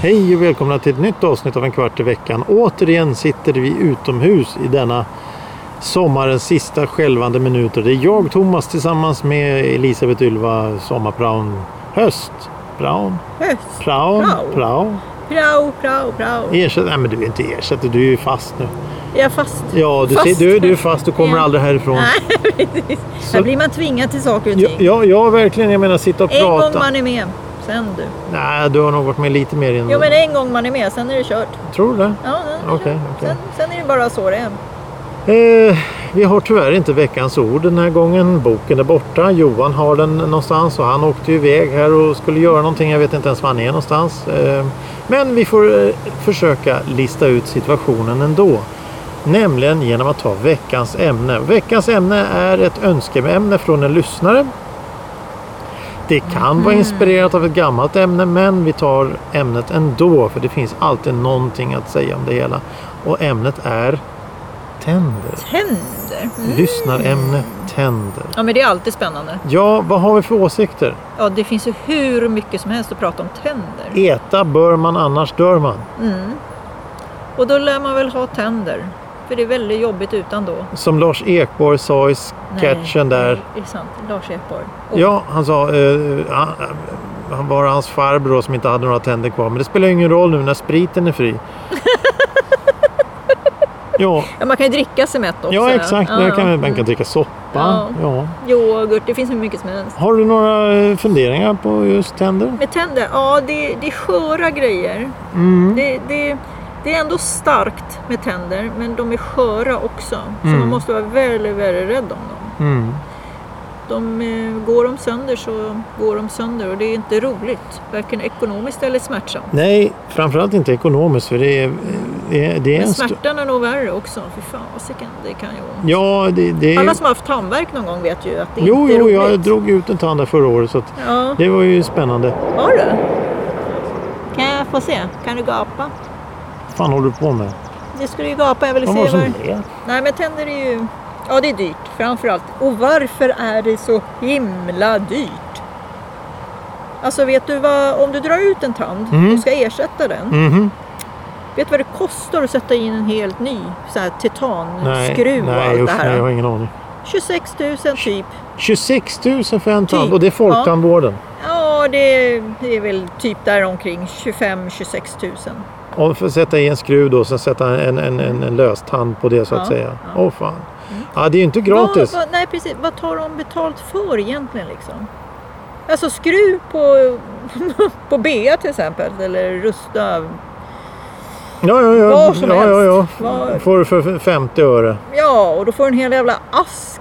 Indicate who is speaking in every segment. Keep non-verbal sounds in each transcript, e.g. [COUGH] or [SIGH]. Speaker 1: Hej och välkomna till ett nytt avsnitt av En kvart i veckan. Återigen sitter vi utomhus i denna sommarens sista skälvande minuter. Det är jag, Thomas, tillsammans med Elisabeth Ylva Sommarpraon Höst. Praon?
Speaker 2: Höst.
Speaker 1: Praon?
Speaker 2: Prao.
Speaker 1: Praon?
Speaker 2: Prao, prao, prao.
Speaker 1: Ersätt... Nej, men du är inte ersatt. Du är ju fast nu.
Speaker 2: Jag är fast.
Speaker 1: Ja, du,
Speaker 2: Fast.
Speaker 1: ser, du, du är fast. Du kommer
Speaker 2: Ja.
Speaker 1: aldrig härifrån.
Speaker 2: Nej, precis. Här blir man tvingad till saker och
Speaker 1: Ja,
Speaker 2: ting.
Speaker 1: ja, ja, verkligen. Jag menar sitta och
Speaker 2: En gång
Speaker 1: prata.
Speaker 2: man är med, sen du.
Speaker 1: Nej, du har nog varit med lite mer innan.
Speaker 2: Jo men en gång man är med, sen är det kört.
Speaker 1: Tror du det?
Speaker 2: Ja, sen, är det
Speaker 1: Okej,
Speaker 2: kört.
Speaker 1: okej.
Speaker 2: Sen, sen är det bara så det är.
Speaker 1: Eh, vi har tyvärr inte veckans ord den här gången. Boken är borta. Johan har den någonstans och han åkte ju iväg här och skulle göra någonting. Jag vet inte ens var han är någonstans. Eh, men vi får eh, försöka lista ut situationen ändå. Nämligen genom att ta veckans ämne. Veckans ämne är ett önskeämne från en lyssnare. Det kan vara inspirerat av ett gammalt ämne men vi tar ämnet ändå för det finns alltid någonting att säga om det hela. Och ämnet är tänder.
Speaker 2: Tänder. Mm.
Speaker 1: Lyssnarämne tänder.
Speaker 2: Ja men det är alltid spännande.
Speaker 1: Ja, vad har vi för åsikter?
Speaker 2: Ja det finns ju hur mycket som helst att prata om tänder. Mm.
Speaker 1: Äta bör man, annars dör man.
Speaker 2: Och då lär man väl ha tänder. För det är väldigt jobbigt utan då.
Speaker 1: Som Lars Ekborg sa i
Speaker 2: Nej,
Speaker 1: sketchen där.
Speaker 2: Det är sant. Lars Ekborg. Och-
Speaker 1: Ja, han sa... eh, han- han var hans farbror då som inte hade några tänder kvar. Men det spelar ju ingen roll nu när spriten
Speaker 2: [LAUGHS]
Speaker 1: är fri. ja,
Speaker 2: Ja, man kan ju dricka sig mätt också.
Speaker 1: ja, exakt.
Speaker 2: Ja,
Speaker 1: Där kan
Speaker 2: ja.
Speaker 1: man, man kan dricka soppa.
Speaker 2: Ja.
Speaker 1: Ja.
Speaker 2: Yoghurt, det finns hur mycket som helst.
Speaker 1: Har du några eh, funderingar på just tänder?
Speaker 2: Med tänder, ja det, det är sköra grejer.
Speaker 1: Mm.
Speaker 2: Det, det, det är ändå starkt med tänder, men de är sköra också. Så
Speaker 1: Mm.
Speaker 2: man måste vara väldigt, väldigt rädd om dem.
Speaker 1: Mm.
Speaker 2: De, eh, går de sönder så går de sönder och det är inte roligt. Varken ekonomiskt eller smärtsamt.
Speaker 1: Nej, framförallt inte ekonomiskt. För det är, eh, det är, det är
Speaker 2: Men
Speaker 1: en stor...
Speaker 2: smärtan är nog värre också. Fy fasiken, det kan ju ont.
Speaker 1: Ja, det, det är...
Speaker 2: Alla som har haft tandvärk någon gång vet ju att det
Speaker 1: Jo,
Speaker 2: inte är
Speaker 1: jo,
Speaker 2: roligt.
Speaker 1: jag drog ut en tand där förra året så att
Speaker 2: Ja,
Speaker 1: det var ju spännande.
Speaker 2: har du? Kan jag få se? Kan du gapa?
Speaker 1: Vad fan håller du på med?
Speaker 2: Det skulle ju gapa, jag ville
Speaker 1: Vad
Speaker 2: se
Speaker 1: var det som
Speaker 2: var...
Speaker 1: lät?
Speaker 2: Nej men tänder är ju... Ja det är dyrt framförallt. Och varför är det så himla dyrt? Alltså vet du vad, om du drar ut en tand
Speaker 1: Mm.
Speaker 2: och ska ersätta den.
Speaker 1: Mhm.
Speaker 2: Vet du vad det kostar att sätta in en helt ny så här,
Speaker 1: Nej,
Speaker 2: titanskruv och
Speaker 1: nej,
Speaker 2: allt
Speaker 1: usch,
Speaker 2: det
Speaker 1: nej, jag har
Speaker 2: här?
Speaker 1: ingen aning.
Speaker 2: 26 000 typ.
Speaker 1: 26 000 för en tand
Speaker 2: Typ,
Speaker 1: och det är folktandvården.
Speaker 2: Ja det det är väl typ där omkring 25-26 000.
Speaker 1: Och för att sätta i en skruv då, sen sätta en, en, en, en lös tand på det så att
Speaker 2: Ja,
Speaker 1: säga. Åh
Speaker 2: ja.
Speaker 1: fan. Ja, det är ju inte gratis.
Speaker 2: Vad, vad, nej precis, vad tar de betalt för egentligen liksom? Alltså skruv på, [LAUGHS] på bea till exempel eller rusta.
Speaker 1: Ja, ja, ja.
Speaker 2: Vad som
Speaker 1: ja, ja, ja.
Speaker 2: helst. Vad-
Speaker 1: Får du för 50 öre.
Speaker 2: Ja, och då får du en hel jävla
Speaker 1: [LAUGHS]
Speaker 2: ask.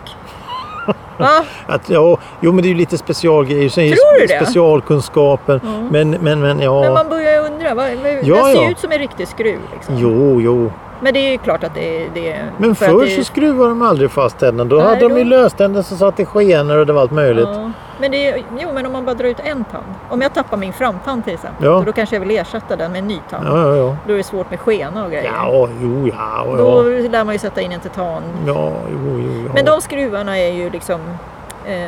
Speaker 2: Va?
Speaker 1: Att, ja, jo, men det är ju lite specialgrejer. Sen är ju
Speaker 2: Tror du
Speaker 1: spe-
Speaker 2: det?
Speaker 1: Specialkunskaper.
Speaker 2: Ja.
Speaker 1: Men, men, men ja.
Speaker 2: Men man börjar ju undra. Va? va- Det
Speaker 1: Ja,
Speaker 2: ser
Speaker 1: ja.
Speaker 2: ju ut som en riktig skruv. Liksom.
Speaker 1: Jo, jo.
Speaker 2: Men det är ju klart att det är... Det är
Speaker 1: Men
Speaker 2: för att
Speaker 1: förr
Speaker 2: det är-
Speaker 1: så skruvade de aldrig fast tänderna. Då
Speaker 2: Nej,
Speaker 1: hade de
Speaker 2: då-
Speaker 1: ju löständer som satt i skenor och det var allt möjligt.
Speaker 2: Ja. Men det är, jo, men om man bara drar ut en tand. Om jag tappar min framtand till exempel.
Speaker 1: Ja.
Speaker 2: och Då kanske jag vill ersätta den med en ny tand.
Speaker 1: Ja, ja, ja.
Speaker 2: Då är det svårt med skena och grejer.
Speaker 1: Ja, jo, ja, ja.
Speaker 2: Då lär man ju sätta in en titan
Speaker 1: Ja, jo, jo, ja.
Speaker 2: Men de skruvarna är ju liksom eh,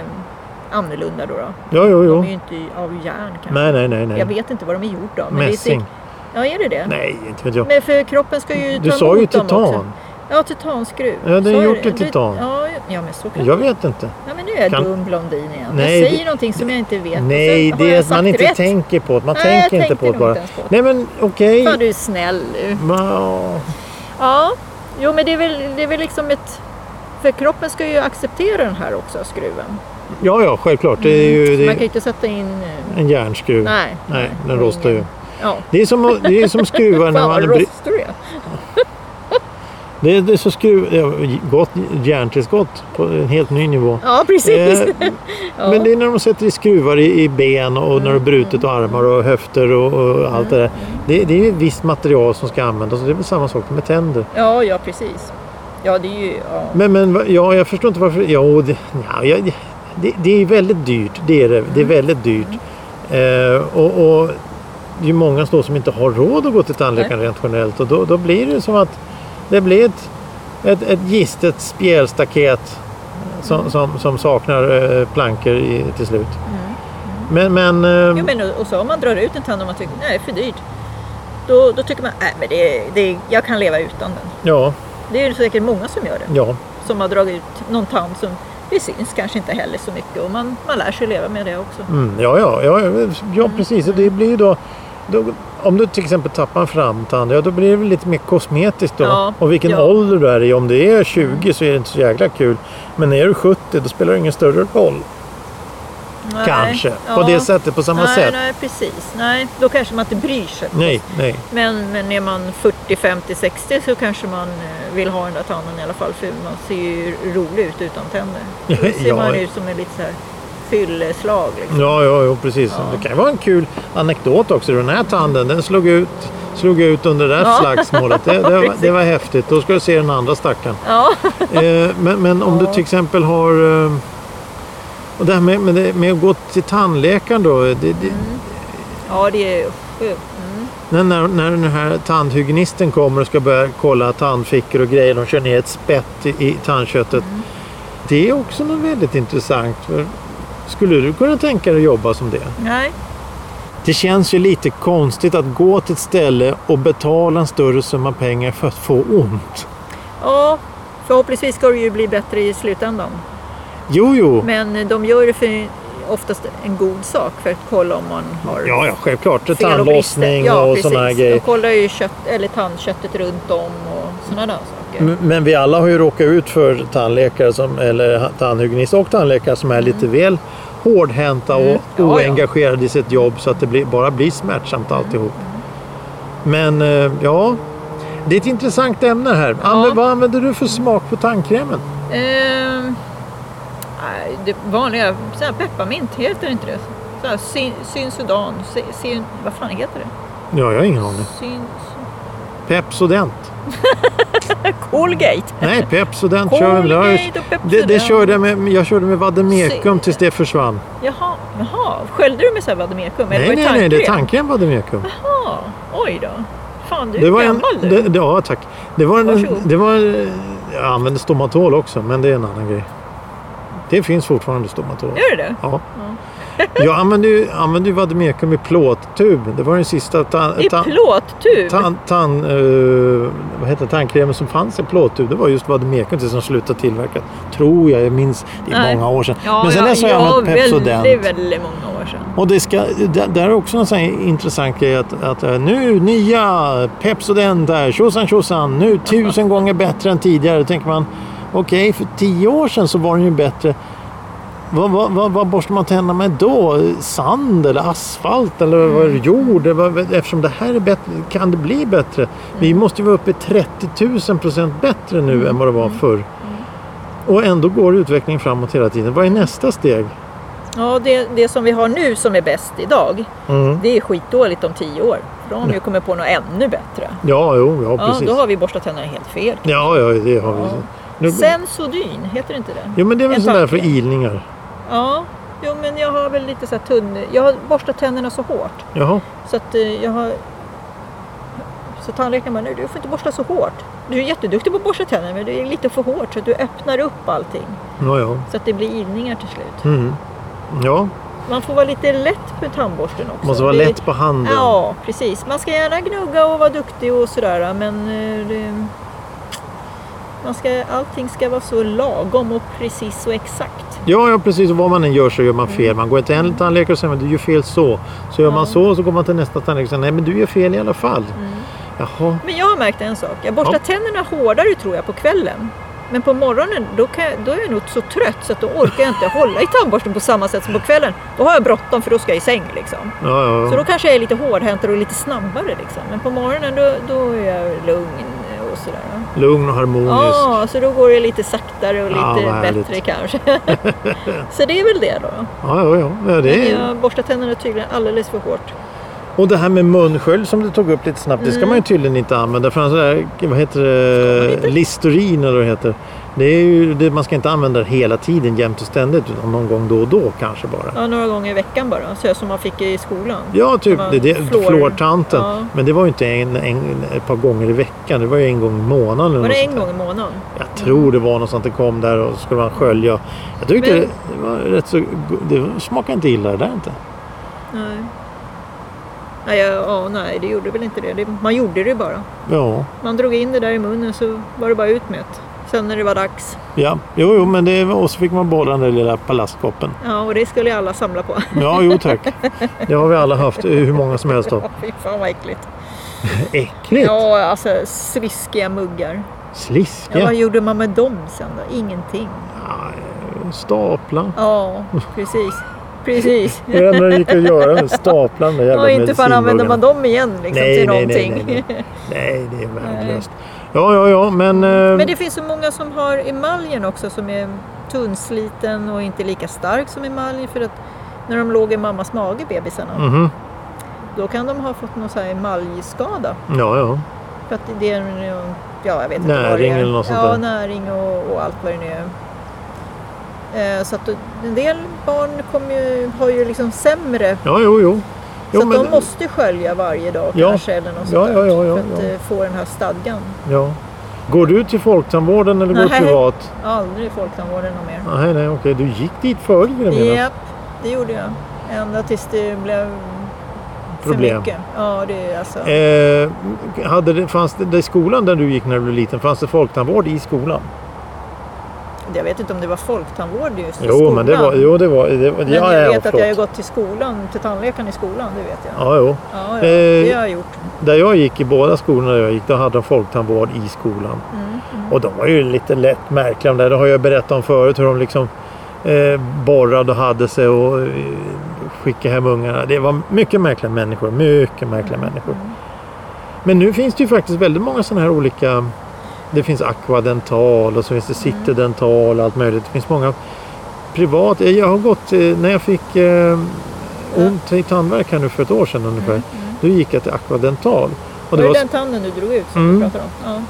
Speaker 2: annorlunda då. då.
Speaker 1: Ja, jo,
Speaker 2: De är ju
Speaker 1: jo.
Speaker 2: inte av järn kanske.
Speaker 1: Nej, nej, nej. nej.
Speaker 2: Jag vet inte vad de är gjorda av. men det är
Speaker 1: Mässing.
Speaker 2: säkert- Ja, är det det?
Speaker 1: Nej, inte vet jag.
Speaker 2: Men för kroppen ska ju ta
Speaker 1: Du sa
Speaker 2: emot
Speaker 1: ju
Speaker 2: dem också.
Speaker 1: titan.
Speaker 2: Ja, titanskruv.
Speaker 1: Ja, det är
Speaker 2: Så
Speaker 1: gjort i
Speaker 2: Du-
Speaker 1: titan.
Speaker 2: Ja, ja, men så kan
Speaker 1: Jag vet inte.
Speaker 2: Ja, men nu är jag
Speaker 1: Kan-
Speaker 2: dum blondin igen.
Speaker 1: Nej,
Speaker 2: jag säger
Speaker 1: det-
Speaker 2: någonting som jag inte vet. och
Speaker 1: Nej,
Speaker 2: sen har
Speaker 1: det är
Speaker 2: jag
Speaker 1: att man
Speaker 2: sagt
Speaker 1: inte
Speaker 2: rätt.
Speaker 1: tänker på det. Man
Speaker 2: Nej, jag
Speaker 1: tänker inte
Speaker 2: tänkte
Speaker 1: på det
Speaker 2: nog
Speaker 1: bara.
Speaker 2: inte ens på det.
Speaker 1: Nej, men okej.
Speaker 2: Fan, du är snäll nu.
Speaker 1: Ma-
Speaker 2: Ja, jo men det är väl, det är väl liksom ett... För kroppen ska ju acceptera den här också, skruven.
Speaker 1: Ja, ja, självklart. Det är ju det
Speaker 2: Mm. Man kan ju
Speaker 1: är
Speaker 2: inte sätta in... eh,
Speaker 1: en järnskruv.
Speaker 2: Nej.
Speaker 1: Nej, den rostar ju.
Speaker 2: Ja.
Speaker 1: Det är som, det är som skruvar när
Speaker 2: Fan
Speaker 1: man...
Speaker 2: vad
Speaker 1: bry-
Speaker 2: rostig du är.
Speaker 1: Det är, det är så skruv... ja, Gott järntillskott på en helt ny nivå.
Speaker 2: Ja precis.
Speaker 1: Eh,
Speaker 2: [LAUGHS] ja. Mm.
Speaker 1: Men det är när de sätter i skruvar i, i ben och när du brutit armar och höfter och, och allt det där. Det, det är ju ett visst material som ska användas och det är väl samma sak med tänder.
Speaker 2: ja, ja precis. Ja det är ju... Ja.
Speaker 1: Men, men va- ja, jag förstår inte varför... Ja, och det, ja, jag, det, det är väldigt dyrt. Det är, det. Det är väldigt dyrt. Eh, och, och det är ju många då som inte har råd att gå till tandläkaren rent generellt och då, då blir det som att det blir ett, ett, ett gistet spjälstaket som, som, som saknar eh, plankor i, till slut. Men, men, eh,
Speaker 2: Ja, men, och- och så om man drar ut en tand och man tycker nej, det är för dyrt. Då, då tycker man nej, men det, det, jag kan leva utan den.
Speaker 1: ja,
Speaker 2: Det är ju säkert många som gör det.
Speaker 1: ja,
Speaker 2: Som har dragit ut någon tand som det syns kanske inte heller så mycket och man, man lär sig leva med det också.
Speaker 1: mm, ja, ja, ja, ja, ja precis. Och Det blir ju då, då, om du till exempel tappar en framtand, ja då blir det väl lite mer kosmetiskt då.
Speaker 2: Ja,
Speaker 1: och vilken
Speaker 2: ja.
Speaker 1: ålder du är i. Om det är 20 så är det inte så jäkla kul. Men är du 70 då spelar det ingen större roll.
Speaker 2: Nej,
Speaker 1: Kanske.
Speaker 2: ja.
Speaker 1: På det sättet, på samma
Speaker 2: nej,
Speaker 1: sätt.
Speaker 2: Nej, precis. Nej, då kanske man inte bryr sig.
Speaker 1: Nej, nej.
Speaker 2: Men, men är man 40, 50, 60 så kanske man eh, vill ha den där tanden i alla fall för man ser ju rolig ut utan tänder. Då ser
Speaker 1: Ja. Mm.
Speaker 2: man ut som en lite så här fylleslag. Liksom.
Speaker 1: Ja, ja, ja precis.
Speaker 2: Ja.
Speaker 1: Det kan ju vara en kul anekdot också. Den här tanden, den slog ut, slog ut under det där
Speaker 2: Ja.
Speaker 1: slagsmålet. Det, det, var,
Speaker 2: Precis.
Speaker 1: det var häftigt. Då ska du se den andra stackaren.
Speaker 2: Ja.
Speaker 1: Eh, men, men om du
Speaker 2: Ja.
Speaker 1: till exempel har... Eh, och det här med, med, det- med att gå till tandläkaren då. Det, det,
Speaker 2: ja, det är... sjukt.
Speaker 1: när,
Speaker 2: Mm.
Speaker 1: när, när den här tandhygienisten kommer och ska börja kolla tandfickor och grejer. De kör ner ett spett i, i tandköttet.
Speaker 2: Mm.
Speaker 1: Det är också något väldigt intressant. För skulle du kunna tänka dig att jobba som det?
Speaker 2: Nej.
Speaker 1: Det känns ju lite konstigt att gå till ett ställe och betala en större summa pengar för att få ont.
Speaker 2: Ja, förhoppningsvis ska det ju bli bättre i slutändan.
Speaker 1: Jo, jo.
Speaker 2: Men eh, de gör det för oftast en god sak för att kolla om man har
Speaker 1: Ja, ja, självklart.
Speaker 2: fel och brister.
Speaker 1: Tandlossning
Speaker 2: ja,
Speaker 1: och
Speaker 2: precis.
Speaker 1: sådana här grejer.
Speaker 2: De kollar ju kött, eller tandköttet runt om och sådana där saker.
Speaker 1: M- Men vi alla har ju råkat ut för tandläkare, som, eller ha- tandhygienist och tandläkare som är lite väl hårdhänta och
Speaker 2: Mm. Ja, ja.
Speaker 1: oengagerade i sitt jobb så att det blir, bara blir smärtsamt alltihop. Men eh, ja, det är ett intressant ämne här. Anne, vad använder du för smak på tandkrämen?
Speaker 2: Ehm, nej, det vanliga, så här pepparmint, heter det inte det? Så här, syn, synsudan, sy, syn, vad fan heter det?
Speaker 1: Ja, jag har ingen aning.
Speaker 2: Syn,
Speaker 1: Pepsodent.
Speaker 2: Colgate! [LAUGHS]
Speaker 1: Nej, Pepsodent kör vi. Det har jag-
Speaker 2: Colgate och Pepsi.
Speaker 1: Det, det körde jag, med, jag körde med vademekum
Speaker 2: Se-
Speaker 1: tills det försvann.
Speaker 2: Jaha, jaha, sköljde du med så här vademekum? Eller
Speaker 1: Nej,
Speaker 2: var
Speaker 1: nej, nej, det är
Speaker 2: tandkräm?
Speaker 1: tandkräm vademekum.
Speaker 2: Jaha, oj då. Fan, du
Speaker 1: Det
Speaker 2: är
Speaker 1: var en,
Speaker 2: gammal du.
Speaker 1: det, det- ja, tack. Det var en,
Speaker 2: Varsågod.
Speaker 1: det var, jag använde stomatol också, men det är en annan grej. Det finns fortfarande stomatol.
Speaker 2: Gör du det?
Speaker 1: Ja. Jag använde ju, använde ju vademekum i plåttub. Det var den sista tan,
Speaker 2: I
Speaker 1: tan,
Speaker 2: plåttub?
Speaker 1: tan, tan, eh, vad heter det, tandkrämen som fanns i plåttub. Det var just vademekum tills de slutade tillverka. Tror jag, jag minns. Det är
Speaker 2: Nej.
Speaker 1: många år sedan.
Speaker 2: Ja,
Speaker 1: men sen
Speaker 2: ja,
Speaker 1: dess har jag
Speaker 2: ja,
Speaker 1: använt Pepsodent.
Speaker 2: väldigt, väldigt många år sedan.
Speaker 1: Och det ska, där- där är också en sån här intressant grej att, att eh, nu nya Pepsodent där, tjosan tjosan, nu tusen gånger bättre än tidigare. Då tänker man, okej för tio år sedan så var den ju bättre. Vad, vad, vad, vad borstar man tänderna med då? Sand eller asfalt eller vad är det, jord? Eller vad- Eftersom det här är bättre, kan det bli bättre? Vi måste ju vara uppe i 30 000 procent bättre nu än vad det var förr. Och ändå går utvecklingen framåt hela tiden. Vad är nästa steg?
Speaker 2: Ja, det, det som vi har nu som är bäst idag,
Speaker 1: Mm.
Speaker 2: det är skitdåligt om tio år. För då har de ju kommit på något ännu bättre.
Speaker 1: Ja, jo, ja,
Speaker 2: Ja,
Speaker 1: precis.
Speaker 2: då har vi borstat tänderna helt fel.
Speaker 1: Ja, ja, det har vi.
Speaker 2: Ja.
Speaker 1: Nu,
Speaker 2: Sensodyn, heter inte det?
Speaker 1: jo, men det är väl
Speaker 2: en
Speaker 1: sånt där för
Speaker 2: tandkräm.
Speaker 1: ilningar.
Speaker 2: Ja, jo, men jag har väl lite så här tunn... Jag har borstat tänderna så hårt
Speaker 1: Jaha.
Speaker 2: så att eh, jag har... Så tandläkaren bara, "Nej, du får inte borsta så hårt. Du är jätteduktig på att borsta tänderna men det är lite för hårt så att du öppnar upp allting.
Speaker 1: Ja, ja.
Speaker 2: Så att det blir ilningar till slut.
Speaker 1: Mm. Ja,
Speaker 2: Man får vara lite lätt med tandborsten också.
Speaker 1: måste vara
Speaker 2: Det-
Speaker 1: lätt på handen.
Speaker 2: Ja, precis. Man ska gärna gnugga och vara duktig och sådär men eh, det- man ska, allting ska vara så lagom och precis och exakt.
Speaker 1: Ja, ja, precis. Och Vad man än gör så gör man fel. Man går till en tandläkare och säger men du gör fel så. Så gör man
Speaker 2: Ja. Mm.
Speaker 1: så så går man till nästa tandläkare och säger nej men du gör fel i alla fall. Jaha.
Speaker 2: Men jag har märkt en sak. Jag borstar
Speaker 1: Ja.
Speaker 2: tänderna hårdare tror jag på kvällen. Men på morgonen då, kan jag, då är jag nog så trött så att då orkar jag inte hålla i tandborsten på samma sätt som på kvällen. Då har jag bråttom för då ska jag i säng liksom.
Speaker 1: Ja, ja,
Speaker 2: Så
Speaker 1: ja.
Speaker 2: då kanske jag är lite hårdhäntare och lite snabbare liksom. Men på morgonen då, då är jag lugn och sådär.
Speaker 1: Lugn och harmonisk.
Speaker 2: Ja, så då går det lite saktare och
Speaker 1: Ja,
Speaker 2: lite
Speaker 1: vad härligt.
Speaker 2: bättre kanske. [LAUGHS] så det är väl det då.
Speaker 1: Ja, ja, ja. ja
Speaker 2: Men
Speaker 1: det är...
Speaker 2: jag borstar tänderna tydligen alldeles för hårt.
Speaker 1: Och det här med munskölj som du tog upp lite snabbt. Det ska man ju tydligen inte använda. För en sån där, vad heter det,
Speaker 2: Mm. man inte?
Speaker 1: listerin eller vad det heter. Det är ju, det, man ska inte använda det hela tiden jämt och ständigt utan någon gång då och då kanske bara.
Speaker 2: Ja, några gånger i veckan bara, så som man fick i skolan.
Speaker 1: Ja, typ
Speaker 2: var
Speaker 1: det, det,
Speaker 2: fluor.
Speaker 1: fluortanten.
Speaker 2: Ja.
Speaker 1: Men det var ju inte en, en, ett par gånger i veckan, det var ju en gång i månaden. eller
Speaker 2: Var det
Speaker 1: något sånt
Speaker 2: en
Speaker 1: där.
Speaker 2: gång i månaden?
Speaker 1: Jag tror det var något sånt, det kom där och så skulle man skölja. Jag tyckte
Speaker 2: Men-
Speaker 1: det, det var rätt så... go- Det smakade inte illa det där inte.
Speaker 2: Nej. Nej, ja, ja, nej, det gjorde väl inte det. det. Man gjorde det bara.
Speaker 1: Ja,
Speaker 2: Man drog in det där i munnen så var det bara ut med det. Sen när det var dags.
Speaker 1: ja. Jo, jo, men det... Och så fick man behålla den där lilla palastkoppen.
Speaker 2: Ja, och det skulle alla samla på. [LAUGHS]
Speaker 1: Ja, jo tack. Det har vi alla haft, hur många som helst av.
Speaker 2: Fy fan vad äckligt.
Speaker 1: Äckligt!
Speaker 2: Ja, alltså sliskiga muggar. Ja,
Speaker 1: Sliskiga!
Speaker 2: vad gjorde man med dem sen då? Ingenting.
Speaker 1: Ja, stapla.
Speaker 2: Ja, precis. Precis.
Speaker 1: Det var det enda det gick att göra, stapla med [LAUGHS] jävla
Speaker 2: Och inte fan använder
Speaker 1: medicinburgarna.
Speaker 2: man dem igen liksom, till någonting.
Speaker 1: Nej, nej, nej. nej det är värdelöst. Ja, ja, ja, men... eh,
Speaker 2: [LAUGHS] Men det finns så många som har emaljen också som är tunnsliten och inte lika stark som emalj. För att när de låg i mammas mage, bebisarna,
Speaker 1: mhm.
Speaker 2: då kan de ha fått någon sån här emaljskada.
Speaker 1: Ja, ja.
Speaker 2: För att det är, en, ja jag vet inte vad det
Speaker 1: Näring
Speaker 2: är.
Speaker 1: eller något sånt
Speaker 2: Ja,
Speaker 1: där.
Speaker 2: näring och, och allt vad det nu är. Eh, Så att då- en del barn kommer ju, har ju liksom sämre,
Speaker 1: Ja, jo, jo. jo
Speaker 2: så att de måste skölja varje dag
Speaker 1: Ja.
Speaker 2: kanske eller något
Speaker 1: Ja,
Speaker 2: sånt
Speaker 1: ja,
Speaker 2: där,
Speaker 1: ja, ja,
Speaker 2: för att
Speaker 1: ja.
Speaker 2: eh, få den här stadgan.
Speaker 1: ja. Går du till folktandvården eller går du
Speaker 2: Nej.
Speaker 1: privat?
Speaker 2: Aldrig i folktandvården och mer.
Speaker 1: Nej, nej, okej. Du gick dit förr vill jag minnas.
Speaker 2: Japp, det gjorde jag. Ända tills det blev för
Speaker 1: Problem.
Speaker 2: mycket. Ja, det är alltså.
Speaker 1: Eh, hade det, fanns det, i skolan där du gick när du var liten, fanns det folktandvård i skolan?
Speaker 2: Jag vet inte om det var folktandvård just i
Speaker 1: Jo,
Speaker 2: skolan.
Speaker 1: men det var... Jo, det var, det var
Speaker 2: Men
Speaker 1: ja,
Speaker 2: jag
Speaker 1: ja,
Speaker 2: vet att
Speaker 1: förlåt.
Speaker 2: jag har gått till skolan, till tandläkaren i skolan, det vet jag.
Speaker 1: Ja, jo.
Speaker 2: Ja, ja.
Speaker 1: Eh,
Speaker 2: det har jag gjort.
Speaker 1: Där jag gick, i båda skolorna där jag gick, då hade de folktandvård i skolan.
Speaker 2: Mm, mm.
Speaker 1: Och de var ju lite lätt märkliga de där. Det har jag berättat om förut hur de liksom eh, borrade och hade sig och eh, skickade hem ungarna. Det var mycket märkliga människor. Mycket märkliga människor. Men nu finns det ju faktiskt väldigt många sådana här olika. Det finns Aquadental och så finns det Citydental och allt möjligt. Det finns många privat. Jag har gått eh, när jag fick eh, ont i tandvärk här nu för ett år sedan ungefär. Då gick jag till Aquadental.
Speaker 2: Och det
Speaker 1: Och det
Speaker 2: var
Speaker 1: var
Speaker 2: den tanden du drog ut som
Speaker 1: Mm.
Speaker 2: du pratade om? Ja.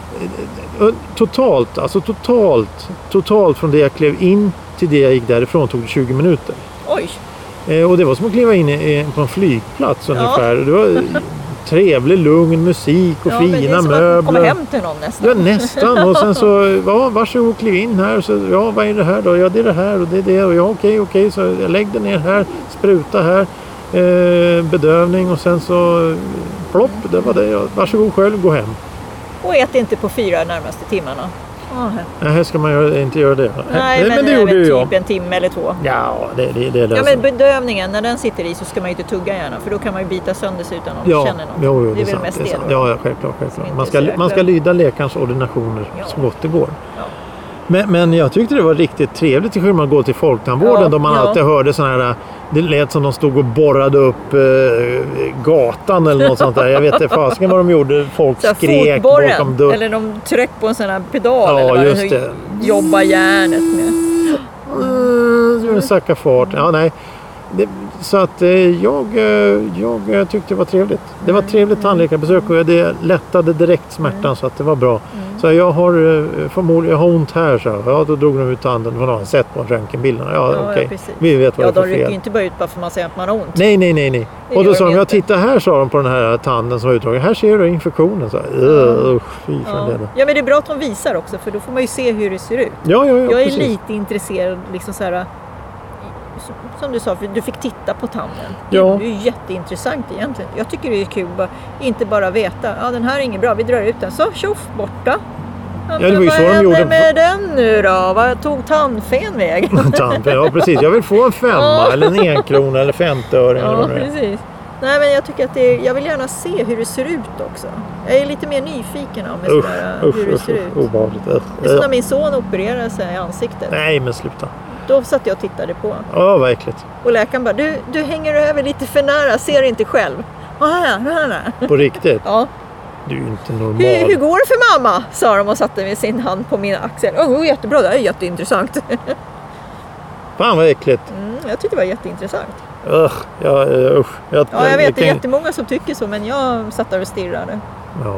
Speaker 1: Ö, Eh, Totalt, alltså totalt, totalt från det jag klev in till det jag gick därifrån tog det 20 minuter.
Speaker 2: Oj!
Speaker 1: Eh, och det var som att kliva in i, i- på en flygplats ungefär. Det var eh, trevlig, lugn musik och
Speaker 2: ja, men det
Speaker 1: fina
Speaker 2: är som att man kommer
Speaker 1: möbler.
Speaker 2: hem till någon nästan.
Speaker 1: Ja, nästan. Och sen så, ja, varsågod kliv in här. Så, ja, vad är det här då? Ja, det är det här och det är det. Och ja, okej, okej. Så jag lägg dig ner här, spruta här, eh, bedövning och sen så eh, plopp, det var det. Ja, varsågod själv, gå hem.
Speaker 2: Och ät inte på fyra närmaste timmarna. Ja.
Speaker 1: Nej, ska man göra, inte göra det?
Speaker 2: Nej, men, det gjorde typ en timme eller två.
Speaker 1: Ja, det, det, det är det
Speaker 2: Ja, men
Speaker 1: som-
Speaker 2: bedövningen, när den sitter i så ska man ju inte tugga gärna för då kan man ju bita sönder sig utan att
Speaker 1: ja,
Speaker 2: känner något.
Speaker 1: jo, jo,
Speaker 2: det är väl
Speaker 1: sant,
Speaker 2: mest
Speaker 1: det.
Speaker 2: det
Speaker 1: sant.
Speaker 2: då.
Speaker 1: Ja, ja, självklart.
Speaker 2: Som
Speaker 1: självklart.
Speaker 2: inte
Speaker 1: Man,
Speaker 2: är
Speaker 1: ska,
Speaker 2: så jäkla-
Speaker 1: man ska lyda läkarens ordinationer
Speaker 2: Ja.
Speaker 1: så gott det går.
Speaker 2: Ja.
Speaker 1: Men, men jag tyckte det var riktigt trevligt till skillnad från att gå till folktandvården
Speaker 2: Ja,
Speaker 1: då man
Speaker 2: ja.
Speaker 1: alltid hörde sådana här... Det lät som de stod och borrade upp eh, gatan eller något sånt där. Jag vet inte fasiken vad de gjorde. Folk
Speaker 2: Så här,
Speaker 1: skrek bakom
Speaker 2: fotborren,
Speaker 1: dörren.
Speaker 2: eller de tryck på en sån här pedal
Speaker 1: Ja,
Speaker 2: eller vad
Speaker 1: just det.
Speaker 2: jobbar järnet med.
Speaker 1: Mm, Sacka fart. Ja, nej. Det, så att eh, jag, eh, jag eh, tyckte det var trevligt. Det var ett
Speaker 2: Mm.
Speaker 1: trevligt tandläkarbesök och det lättade direkt smärtan så att det var bra.
Speaker 2: Mm.
Speaker 1: Så jag har eh, förmodligen, jag har ont här så jag. Ja, då drog de ut tanden. För de har sett på röntgenbilden. Ja,
Speaker 2: Ja, ja,
Speaker 1: okej.
Speaker 2: precis.
Speaker 1: Vi vet vad
Speaker 2: Ja,
Speaker 1: det är
Speaker 2: de
Speaker 1: för
Speaker 2: rycker ju
Speaker 1: fel.
Speaker 2: inte bara ut bara för man säger att man har ont.
Speaker 1: Nej, nej, nej, nej.
Speaker 2: Det
Speaker 1: Och då
Speaker 2: gör
Speaker 1: sa
Speaker 2: de
Speaker 1: de, ja
Speaker 2: inte.
Speaker 1: titta här sa de på den här tanden som var utdragen. Här ser du infektionen. Så, här, "Ugh, usch, fy fan
Speaker 2: Mm. Ja.
Speaker 1: det är det.
Speaker 2: ja, men det är bra att de visar också för då får man ju se hur det ser ut.
Speaker 1: Ja, ja, ja,
Speaker 2: jag är
Speaker 1: precis.
Speaker 2: lite intresserad, liksom så här, som- som du sa, för du fick titta på tanden.
Speaker 1: Ja.
Speaker 2: Det är ju jätteintressant egentligen. Jag tycker det är kul bara, inte bara veta, ja den här är ingen bra, vi drar ut den. Så tjoff, borta.
Speaker 1: det var ju
Speaker 2: men
Speaker 1: så de
Speaker 2: vad
Speaker 1: gjorde.
Speaker 2: hände med den nu då? Vad tog tandfen vägen?
Speaker 1: [LAUGHS] Tant, ja, precis. Jag vill få en femma
Speaker 2: Ja.
Speaker 1: eller en enkrona eller femtöring. eller
Speaker 2: Ja,
Speaker 1: vad det nu är.
Speaker 2: precis. Nej, men jag tycker att det är, jag vill gärna se hur det ser ut också. Jag är lite mer nyfiken om
Speaker 1: Usch,
Speaker 2: sådär,
Speaker 1: usch,
Speaker 2: hur det
Speaker 1: usch,
Speaker 2: ser
Speaker 1: usch,
Speaker 2: ut.
Speaker 1: obehagligt. Usch,
Speaker 2: Det är som
Speaker 1: usch.
Speaker 2: när min son opererade sig i ansiktet.
Speaker 1: Nej men sluta.
Speaker 2: Då satt jag och tittade på.
Speaker 1: Ja vad äckligt.
Speaker 2: Och läkaren bara, du, du hänger över lite för nära, ser inte själv. Och här, här, här.
Speaker 1: På riktigt.
Speaker 2: Ja.
Speaker 1: Du är ju inte
Speaker 2: Hur, hur
Speaker 1: normal.
Speaker 2: går det för mamma? sa de och satte med sin hand på min axel. Oh, jättebra, det här är jätteintressant.
Speaker 1: Fan vad äckligt.
Speaker 2: Mm, jag tyckte det var jätteintressant.
Speaker 1: Usch. Ja, eh, usch.
Speaker 2: Mm. Ja, jag vet, det är
Speaker 1: kan-
Speaker 2: jättemånga som tycker så, men jag satt där och stirrade.
Speaker 1: Ja.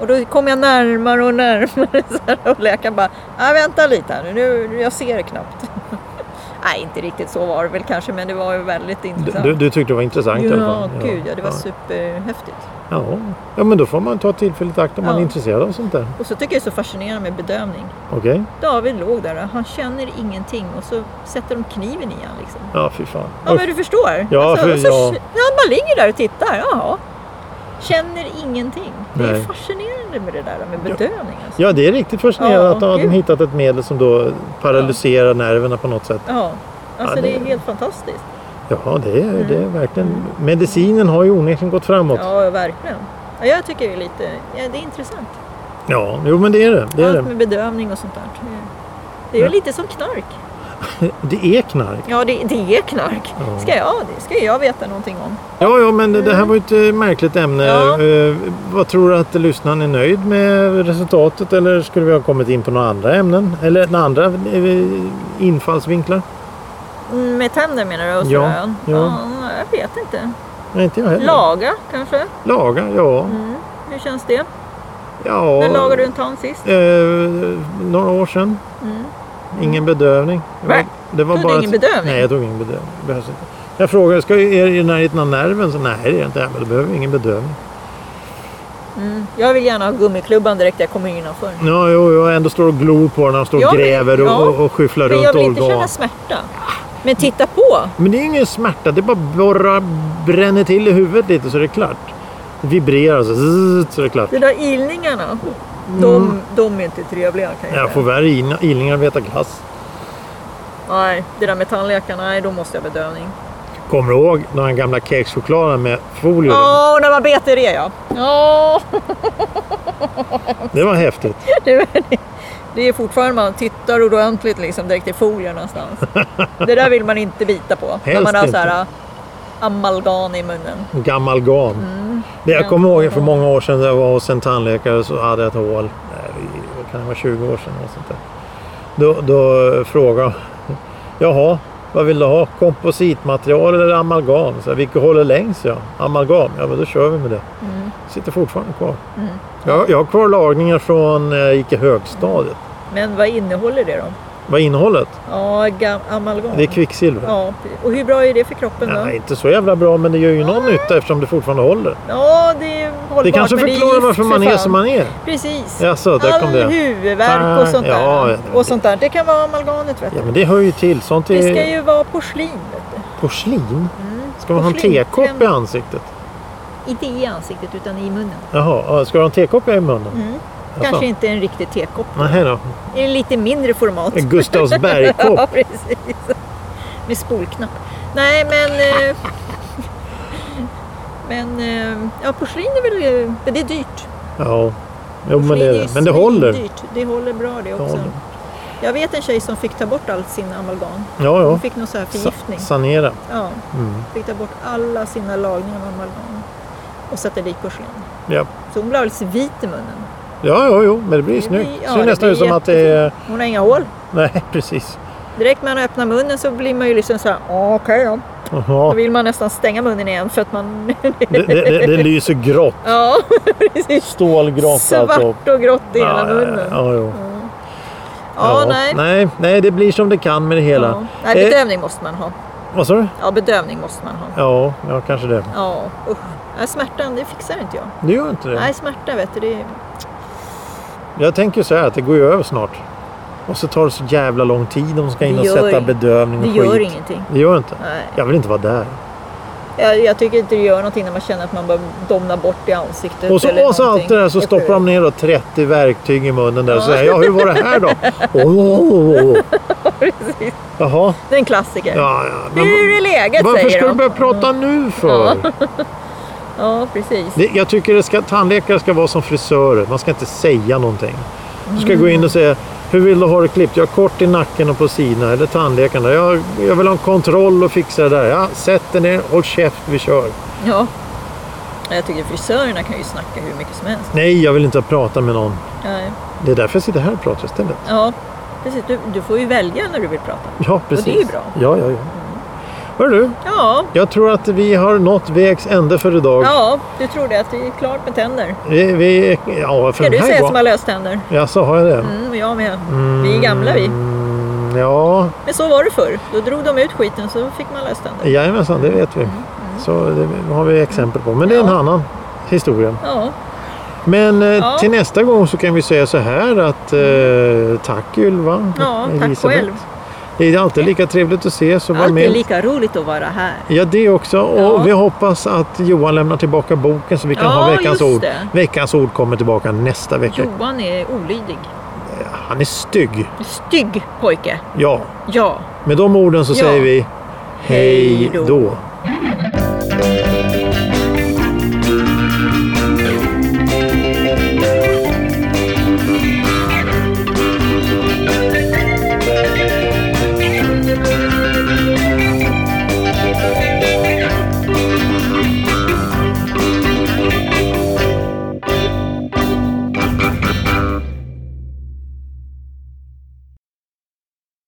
Speaker 2: Och då kom jag närmare och närmare [LAUGHS] så här, och läkaren bara, ah, vänta lite här nu, nu, jag ser knappt. [LAUGHS] Nej, inte riktigt så var det väl kanske, men det var ju väldigt
Speaker 1: Du,
Speaker 2: intressant.
Speaker 1: du, du tyckte det var intressant i alla
Speaker 2: ja,
Speaker 1: fall?
Speaker 2: gud ja, det var
Speaker 1: ja.
Speaker 2: superhäftigt.
Speaker 1: Ja. ja, men då får man ta tillfället i akt om man är
Speaker 2: Ja.
Speaker 1: intresserad av sånt där.
Speaker 2: Och så tycker jag det är så fascinerande med bedövning.
Speaker 1: Okej?
Speaker 2: David låg där och han känner ingenting och så sätter de kniven i honom. Liksom.
Speaker 1: Ja, fy fan.
Speaker 2: Ja, men du förstår. Alltså,
Speaker 1: Ja, för-
Speaker 2: och så,
Speaker 1: ja.
Speaker 2: ja, man ligger där och tittar. Jaha. Känner ingenting. Det är
Speaker 1: Nej.
Speaker 2: fascinerande med det där med bedövning. Alltså.
Speaker 1: Ja, det är riktigt fascinerande
Speaker 2: Ja,
Speaker 1: att de har
Speaker 2: gud.
Speaker 1: hittat ett medel som då paralyserar nerverna på något sätt.
Speaker 2: Ja. Alltså
Speaker 1: Ja,
Speaker 2: det är
Speaker 1: det-
Speaker 2: helt fantastiskt.
Speaker 1: Ja, det är, det är verkligen... Medicinen har ju onekligen gått framåt. Ja,
Speaker 2: Mm. Ja, verkligen. Ja, jag tycker det är lite, ja, det är intressant.
Speaker 1: jo men det är det. Det är,
Speaker 2: Allt
Speaker 1: det.
Speaker 2: med bedövning och sånt där. Det är ju
Speaker 1: Ja.
Speaker 2: lite som knark.
Speaker 1: det är knark.
Speaker 2: Ja, det, det är knark.
Speaker 1: Ja.
Speaker 2: Ska jag, det ska jag veta någonting om.
Speaker 1: Ja, ja, men det här var ju ett eh, märkligt ämne.
Speaker 2: Mm. Ja.
Speaker 1: Eh, Vad tror du att lyssnaren är nöjd med resultatet eller skulle vi ha kommit in på några andra ämnen? Eller några andra eh, infallsvinklar?
Speaker 2: Mm, Med tänder menar du? Och
Speaker 1: Ja,
Speaker 2: sådär.
Speaker 1: ja.
Speaker 2: Jag vet inte.
Speaker 1: Nej, inte jag heller.
Speaker 2: Laga kanske?
Speaker 1: Laga, ja.
Speaker 2: Mm. Hur känns det?
Speaker 1: ja.
Speaker 2: När lagade du en tand sist?
Speaker 1: Eh, några år sedan.
Speaker 2: Mm.
Speaker 1: Ingen bedövning. Det var-
Speaker 2: Va?
Speaker 1: Det var
Speaker 2: Tog du
Speaker 1: bara
Speaker 2: ingen
Speaker 1: ett-
Speaker 2: bedövning?
Speaker 1: Nej, jag tog ingen bedövning. Det Behövs inte. Jag frågade, ska, är det i närheten av nerven? Så, nej, det är det inte. Ja, Men då behöver vi ingen bedövning.
Speaker 2: Mm. Jag vill gärna ha gummiklubban direkt jag kommer innanför.
Speaker 1: Ja, jo, jag ändå står och glor på den. Han står och
Speaker 2: Ja, men-
Speaker 1: gräver och,
Speaker 2: ja.
Speaker 1: och, och skyfflar
Speaker 2: Men jag
Speaker 1: runt
Speaker 2: vill inte
Speaker 1: organ.
Speaker 2: känna smärta. Men titta på!
Speaker 1: Men det är ingen smärta. Det bara borrar, bränner till i huvudet lite så är det klart. Det vibrerar så, zzz, så är det klart.
Speaker 2: De där ilningarna, de, de är inte trevliga kan jag
Speaker 1: Mm. Jag får
Speaker 2: säga.
Speaker 1: värre in- ilningar av Veta Glass.
Speaker 2: Nej, det där med tandläkarna, nej då måste jag ha bedövning.
Speaker 1: Kommer du ihåg de här gamla kexchokladen med folie?
Speaker 2: Ja, när man beter det ja. [LAUGHS] Ja,
Speaker 1: Det var häftigt.
Speaker 2: det, det är fortfarande man tittar ordentligt liksom direkt i folien någonstans.
Speaker 1: [LAUGHS]
Speaker 2: Det där vill man inte bita på. när
Speaker 1: Helst
Speaker 2: man har så
Speaker 1: inte.
Speaker 2: här äh, amalgam i munnen.
Speaker 1: Gamalgam.
Speaker 2: Mm.
Speaker 1: Det jag kommer ihåg för många år sedan när jag var hos en tandläkare så hade jag ett hål. Nej, det kan det vara 20 år sedan eller sånt där. Då, då frågade jag. Jaha, vad vill du ha? Kompositmaterial eller amalgam? Så jag, Vilket håller längst? Ja. Amalgam, ja men då kör vi med det.
Speaker 2: Mm.
Speaker 1: Sitter fortfarande kvar. Jag, jag har kvar lagningar från när jag gick i högstadiet.
Speaker 2: Men vad innehåller det då?
Speaker 1: Vad är innehållet?
Speaker 2: Ja, gam- amalgam.
Speaker 1: Det är kvicksilver.
Speaker 2: Ja, och hur bra är det för kroppen då?
Speaker 1: Nej, inte så jävla bra men det gör ju någon nytta eftersom det fortfarande håller.
Speaker 2: Ja, det är hållbart.
Speaker 1: Det kanske
Speaker 2: men är
Speaker 1: förklarar
Speaker 2: gift
Speaker 1: varför
Speaker 2: för
Speaker 1: man är
Speaker 2: fan.
Speaker 1: som man är.
Speaker 2: Precis.
Speaker 1: Jaså, där kom
Speaker 2: All
Speaker 1: det. Ah,
Speaker 2: huvudvärk och sånt där.
Speaker 1: Ja, ja, det-
Speaker 2: och sånt där. Det kan vara amalgamet vet du.
Speaker 1: Ja men det hör ju till. Sånt är
Speaker 2: Det ska ju vara porslin vet
Speaker 1: porslin. Ska man ha en
Speaker 2: porslin.
Speaker 1: tekopp i ansiktet?
Speaker 2: du. Mm. Inte i ansiktet utan i munnen.
Speaker 1: Jaha, ja, ska du ha en tekopp i munnen?
Speaker 2: Mm.
Speaker 1: Jaså?
Speaker 2: Kanske inte en riktig tekopp.
Speaker 1: Nej då.
Speaker 2: I lite mindre format.
Speaker 1: En Gustavsbergkopp.
Speaker 2: [LAUGHS] ja, precis. Med spolknapp. Nej, men... eh, [LAUGHS] Men eh, ja, porslin är väl... eh, Men det är dyrt.
Speaker 1: Ja. Jo men
Speaker 2: Porslin
Speaker 1: det är
Speaker 2: ju
Speaker 1: det. Men det håller.
Speaker 2: svindyrt. Det håller bra det också.
Speaker 1: håller.
Speaker 2: Jag vet en tjej som fick ta bort all sin amalgam.
Speaker 1: Ja,
Speaker 2: Hon
Speaker 1: ja.
Speaker 2: fick någon så här förgiftning.
Speaker 1: Sa- Sanera.
Speaker 2: Ja,
Speaker 1: Mm.
Speaker 2: fick ta bort alla sina lagningar av amalgam och satte dit porslin.
Speaker 1: Ja.
Speaker 2: Så hon blev alldeles vit i munnen.
Speaker 1: ja, ja, jo, men det blir ju
Speaker 2: Det blir-
Speaker 1: snyggt.
Speaker 2: ja,
Speaker 1: Ser
Speaker 2: det
Speaker 1: nästan
Speaker 2: blir
Speaker 1: ut som att det är...
Speaker 2: Hon har inga hål.
Speaker 1: Nej, [LAUGHS] precis.
Speaker 2: Direkt när man öppnar munnen så blir man ju liksom så här, "Ja, okej då. Då
Speaker 1: Jaha.
Speaker 2: vill man nästan stänga munnen igen för att man... [LAUGHS]
Speaker 1: Det, det, det, det lyser grått. [LAUGHS]
Speaker 2: ja, precis.
Speaker 1: Stålgrått alltihop.
Speaker 2: Svart och grått i hela
Speaker 1: Ja,
Speaker 2: munnen. Ja,
Speaker 1: Ja, jo.
Speaker 2: ja, nej.
Speaker 1: nej. Nej, det blir som det kan med det hela.
Speaker 2: Ja. nej.
Speaker 1: Eh,
Speaker 2: Bedövning måste man ha.
Speaker 1: Vad sa du?
Speaker 2: Ja, bedövning måste man ha.
Speaker 1: Ja, ja, kanske det.
Speaker 2: Ja, usch. Nej, Smärtan, det fixar inte jag.
Speaker 1: Det gör inte det.
Speaker 2: Nej, smärta vet du, det är...
Speaker 1: Jag tänker så här att det går ju över snart. Och så tar det så jävla lång tid om de ska in
Speaker 2: Det
Speaker 1: och
Speaker 2: gör
Speaker 1: sätta
Speaker 2: ing-
Speaker 1: bedövning och
Speaker 2: Det
Speaker 1: skit.
Speaker 2: gör ingenting.
Speaker 1: Det gör inte.
Speaker 2: Nej.
Speaker 1: Jag vill inte vara där.
Speaker 2: Jag, jag tycker inte det gör någonting när man känner att man bara domnar bort i ansiktet.
Speaker 1: Och
Speaker 2: eller
Speaker 1: så, och så allt
Speaker 2: någonting.
Speaker 1: det där så
Speaker 2: Usch.
Speaker 1: stoppar de ner då 30 verktyg i munnen där och säger ja hur var det
Speaker 2: [LAUGHS]
Speaker 1: här då? Oh.
Speaker 2: Precis.
Speaker 1: Jaha,
Speaker 2: Det är en klassiker.
Speaker 1: ja, ja. Men
Speaker 2: Hur är läget
Speaker 1: varför
Speaker 2: säger
Speaker 1: ska du
Speaker 2: de. Mm.
Speaker 1: börja prata nu för?
Speaker 2: Ja, precis.
Speaker 1: Det, jag tycker det ska, tandläkare ska vara som frisörer, man ska inte säga någonting. Du ska gå in och säga, hur vill du ha det klippt? Jag har kort i nacken och på sidorna, eller tandläkaren. där. Jag, jag vill ha en kontroll och fixa det där. Ja, sätt dig ner, håll käft, vi kör.
Speaker 2: Ja. Jag tycker frisörerna kan ju snacka hur mycket som helst.
Speaker 1: Nej, jag vill inte prata med någon.
Speaker 2: Nej.
Speaker 1: Det är därför jag sitter här och pratar istället.
Speaker 2: Ja, precis. Du, du får ju välja när du vill prata.
Speaker 1: Ja, precis.
Speaker 2: det är ju bra.
Speaker 1: Ja, ja, ja. Hör du,
Speaker 2: Ja,
Speaker 1: jag tror att vi har nått vägs ände för idag.
Speaker 2: ja du trodde att det är klart med tänder.
Speaker 1: Vi, vi, ja, för
Speaker 2: Ska du
Speaker 1: den här
Speaker 2: säga som har
Speaker 1: gången.
Speaker 2: löständer?
Speaker 1: Ja, så har jag det?
Speaker 2: Mm, jag med. Vi är gamla vi.
Speaker 1: Mm, Ja,
Speaker 2: Men så var det förr. Då drog de ut skiten så fick man löständer.
Speaker 1: jajamensan, det vet vi. Så det har vi exempel på. Men det är en
Speaker 2: Ja.
Speaker 1: annan historia.
Speaker 2: Ja,
Speaker 1: Men eh,
Speaker 2: Ja.
Speaker 1: till nästa gång så kan vi säga så här att eh, tack Ylva.
Speaker 2: Ja, tack själv.
Speaker 1: Det är alltid lika trevligt att ses och vara
Speaker 2: alltid
Speaker 1: med.
Speaker 2: lika roligt att vara här.
Speaker 1: Ja, det också. Och
Speaker 2: Ja.
Speaker 1: vi hoppas att Johan lämnar tillbaka boken så vi kan
Speaker 2: Ja,
Speaker 1: ha veckans
Speaker 2: just
Speaker 1: ord.
Speaker 2: det.
Speaker 1: Veckans ord kommer tillbaka nästa vecka.
Speaker 2: Johan är olydig.
Speaker 1: Han är stygg.
Speaker 2: Stygg pojke.
Speaker 1: Ja,
Speaker 2: Ja.
Speaker 1: med de orden så
Speaker 2: Ja.
Speaker 1: säger vi
Speaker 2: Hej då.
Speaker 1: hej då.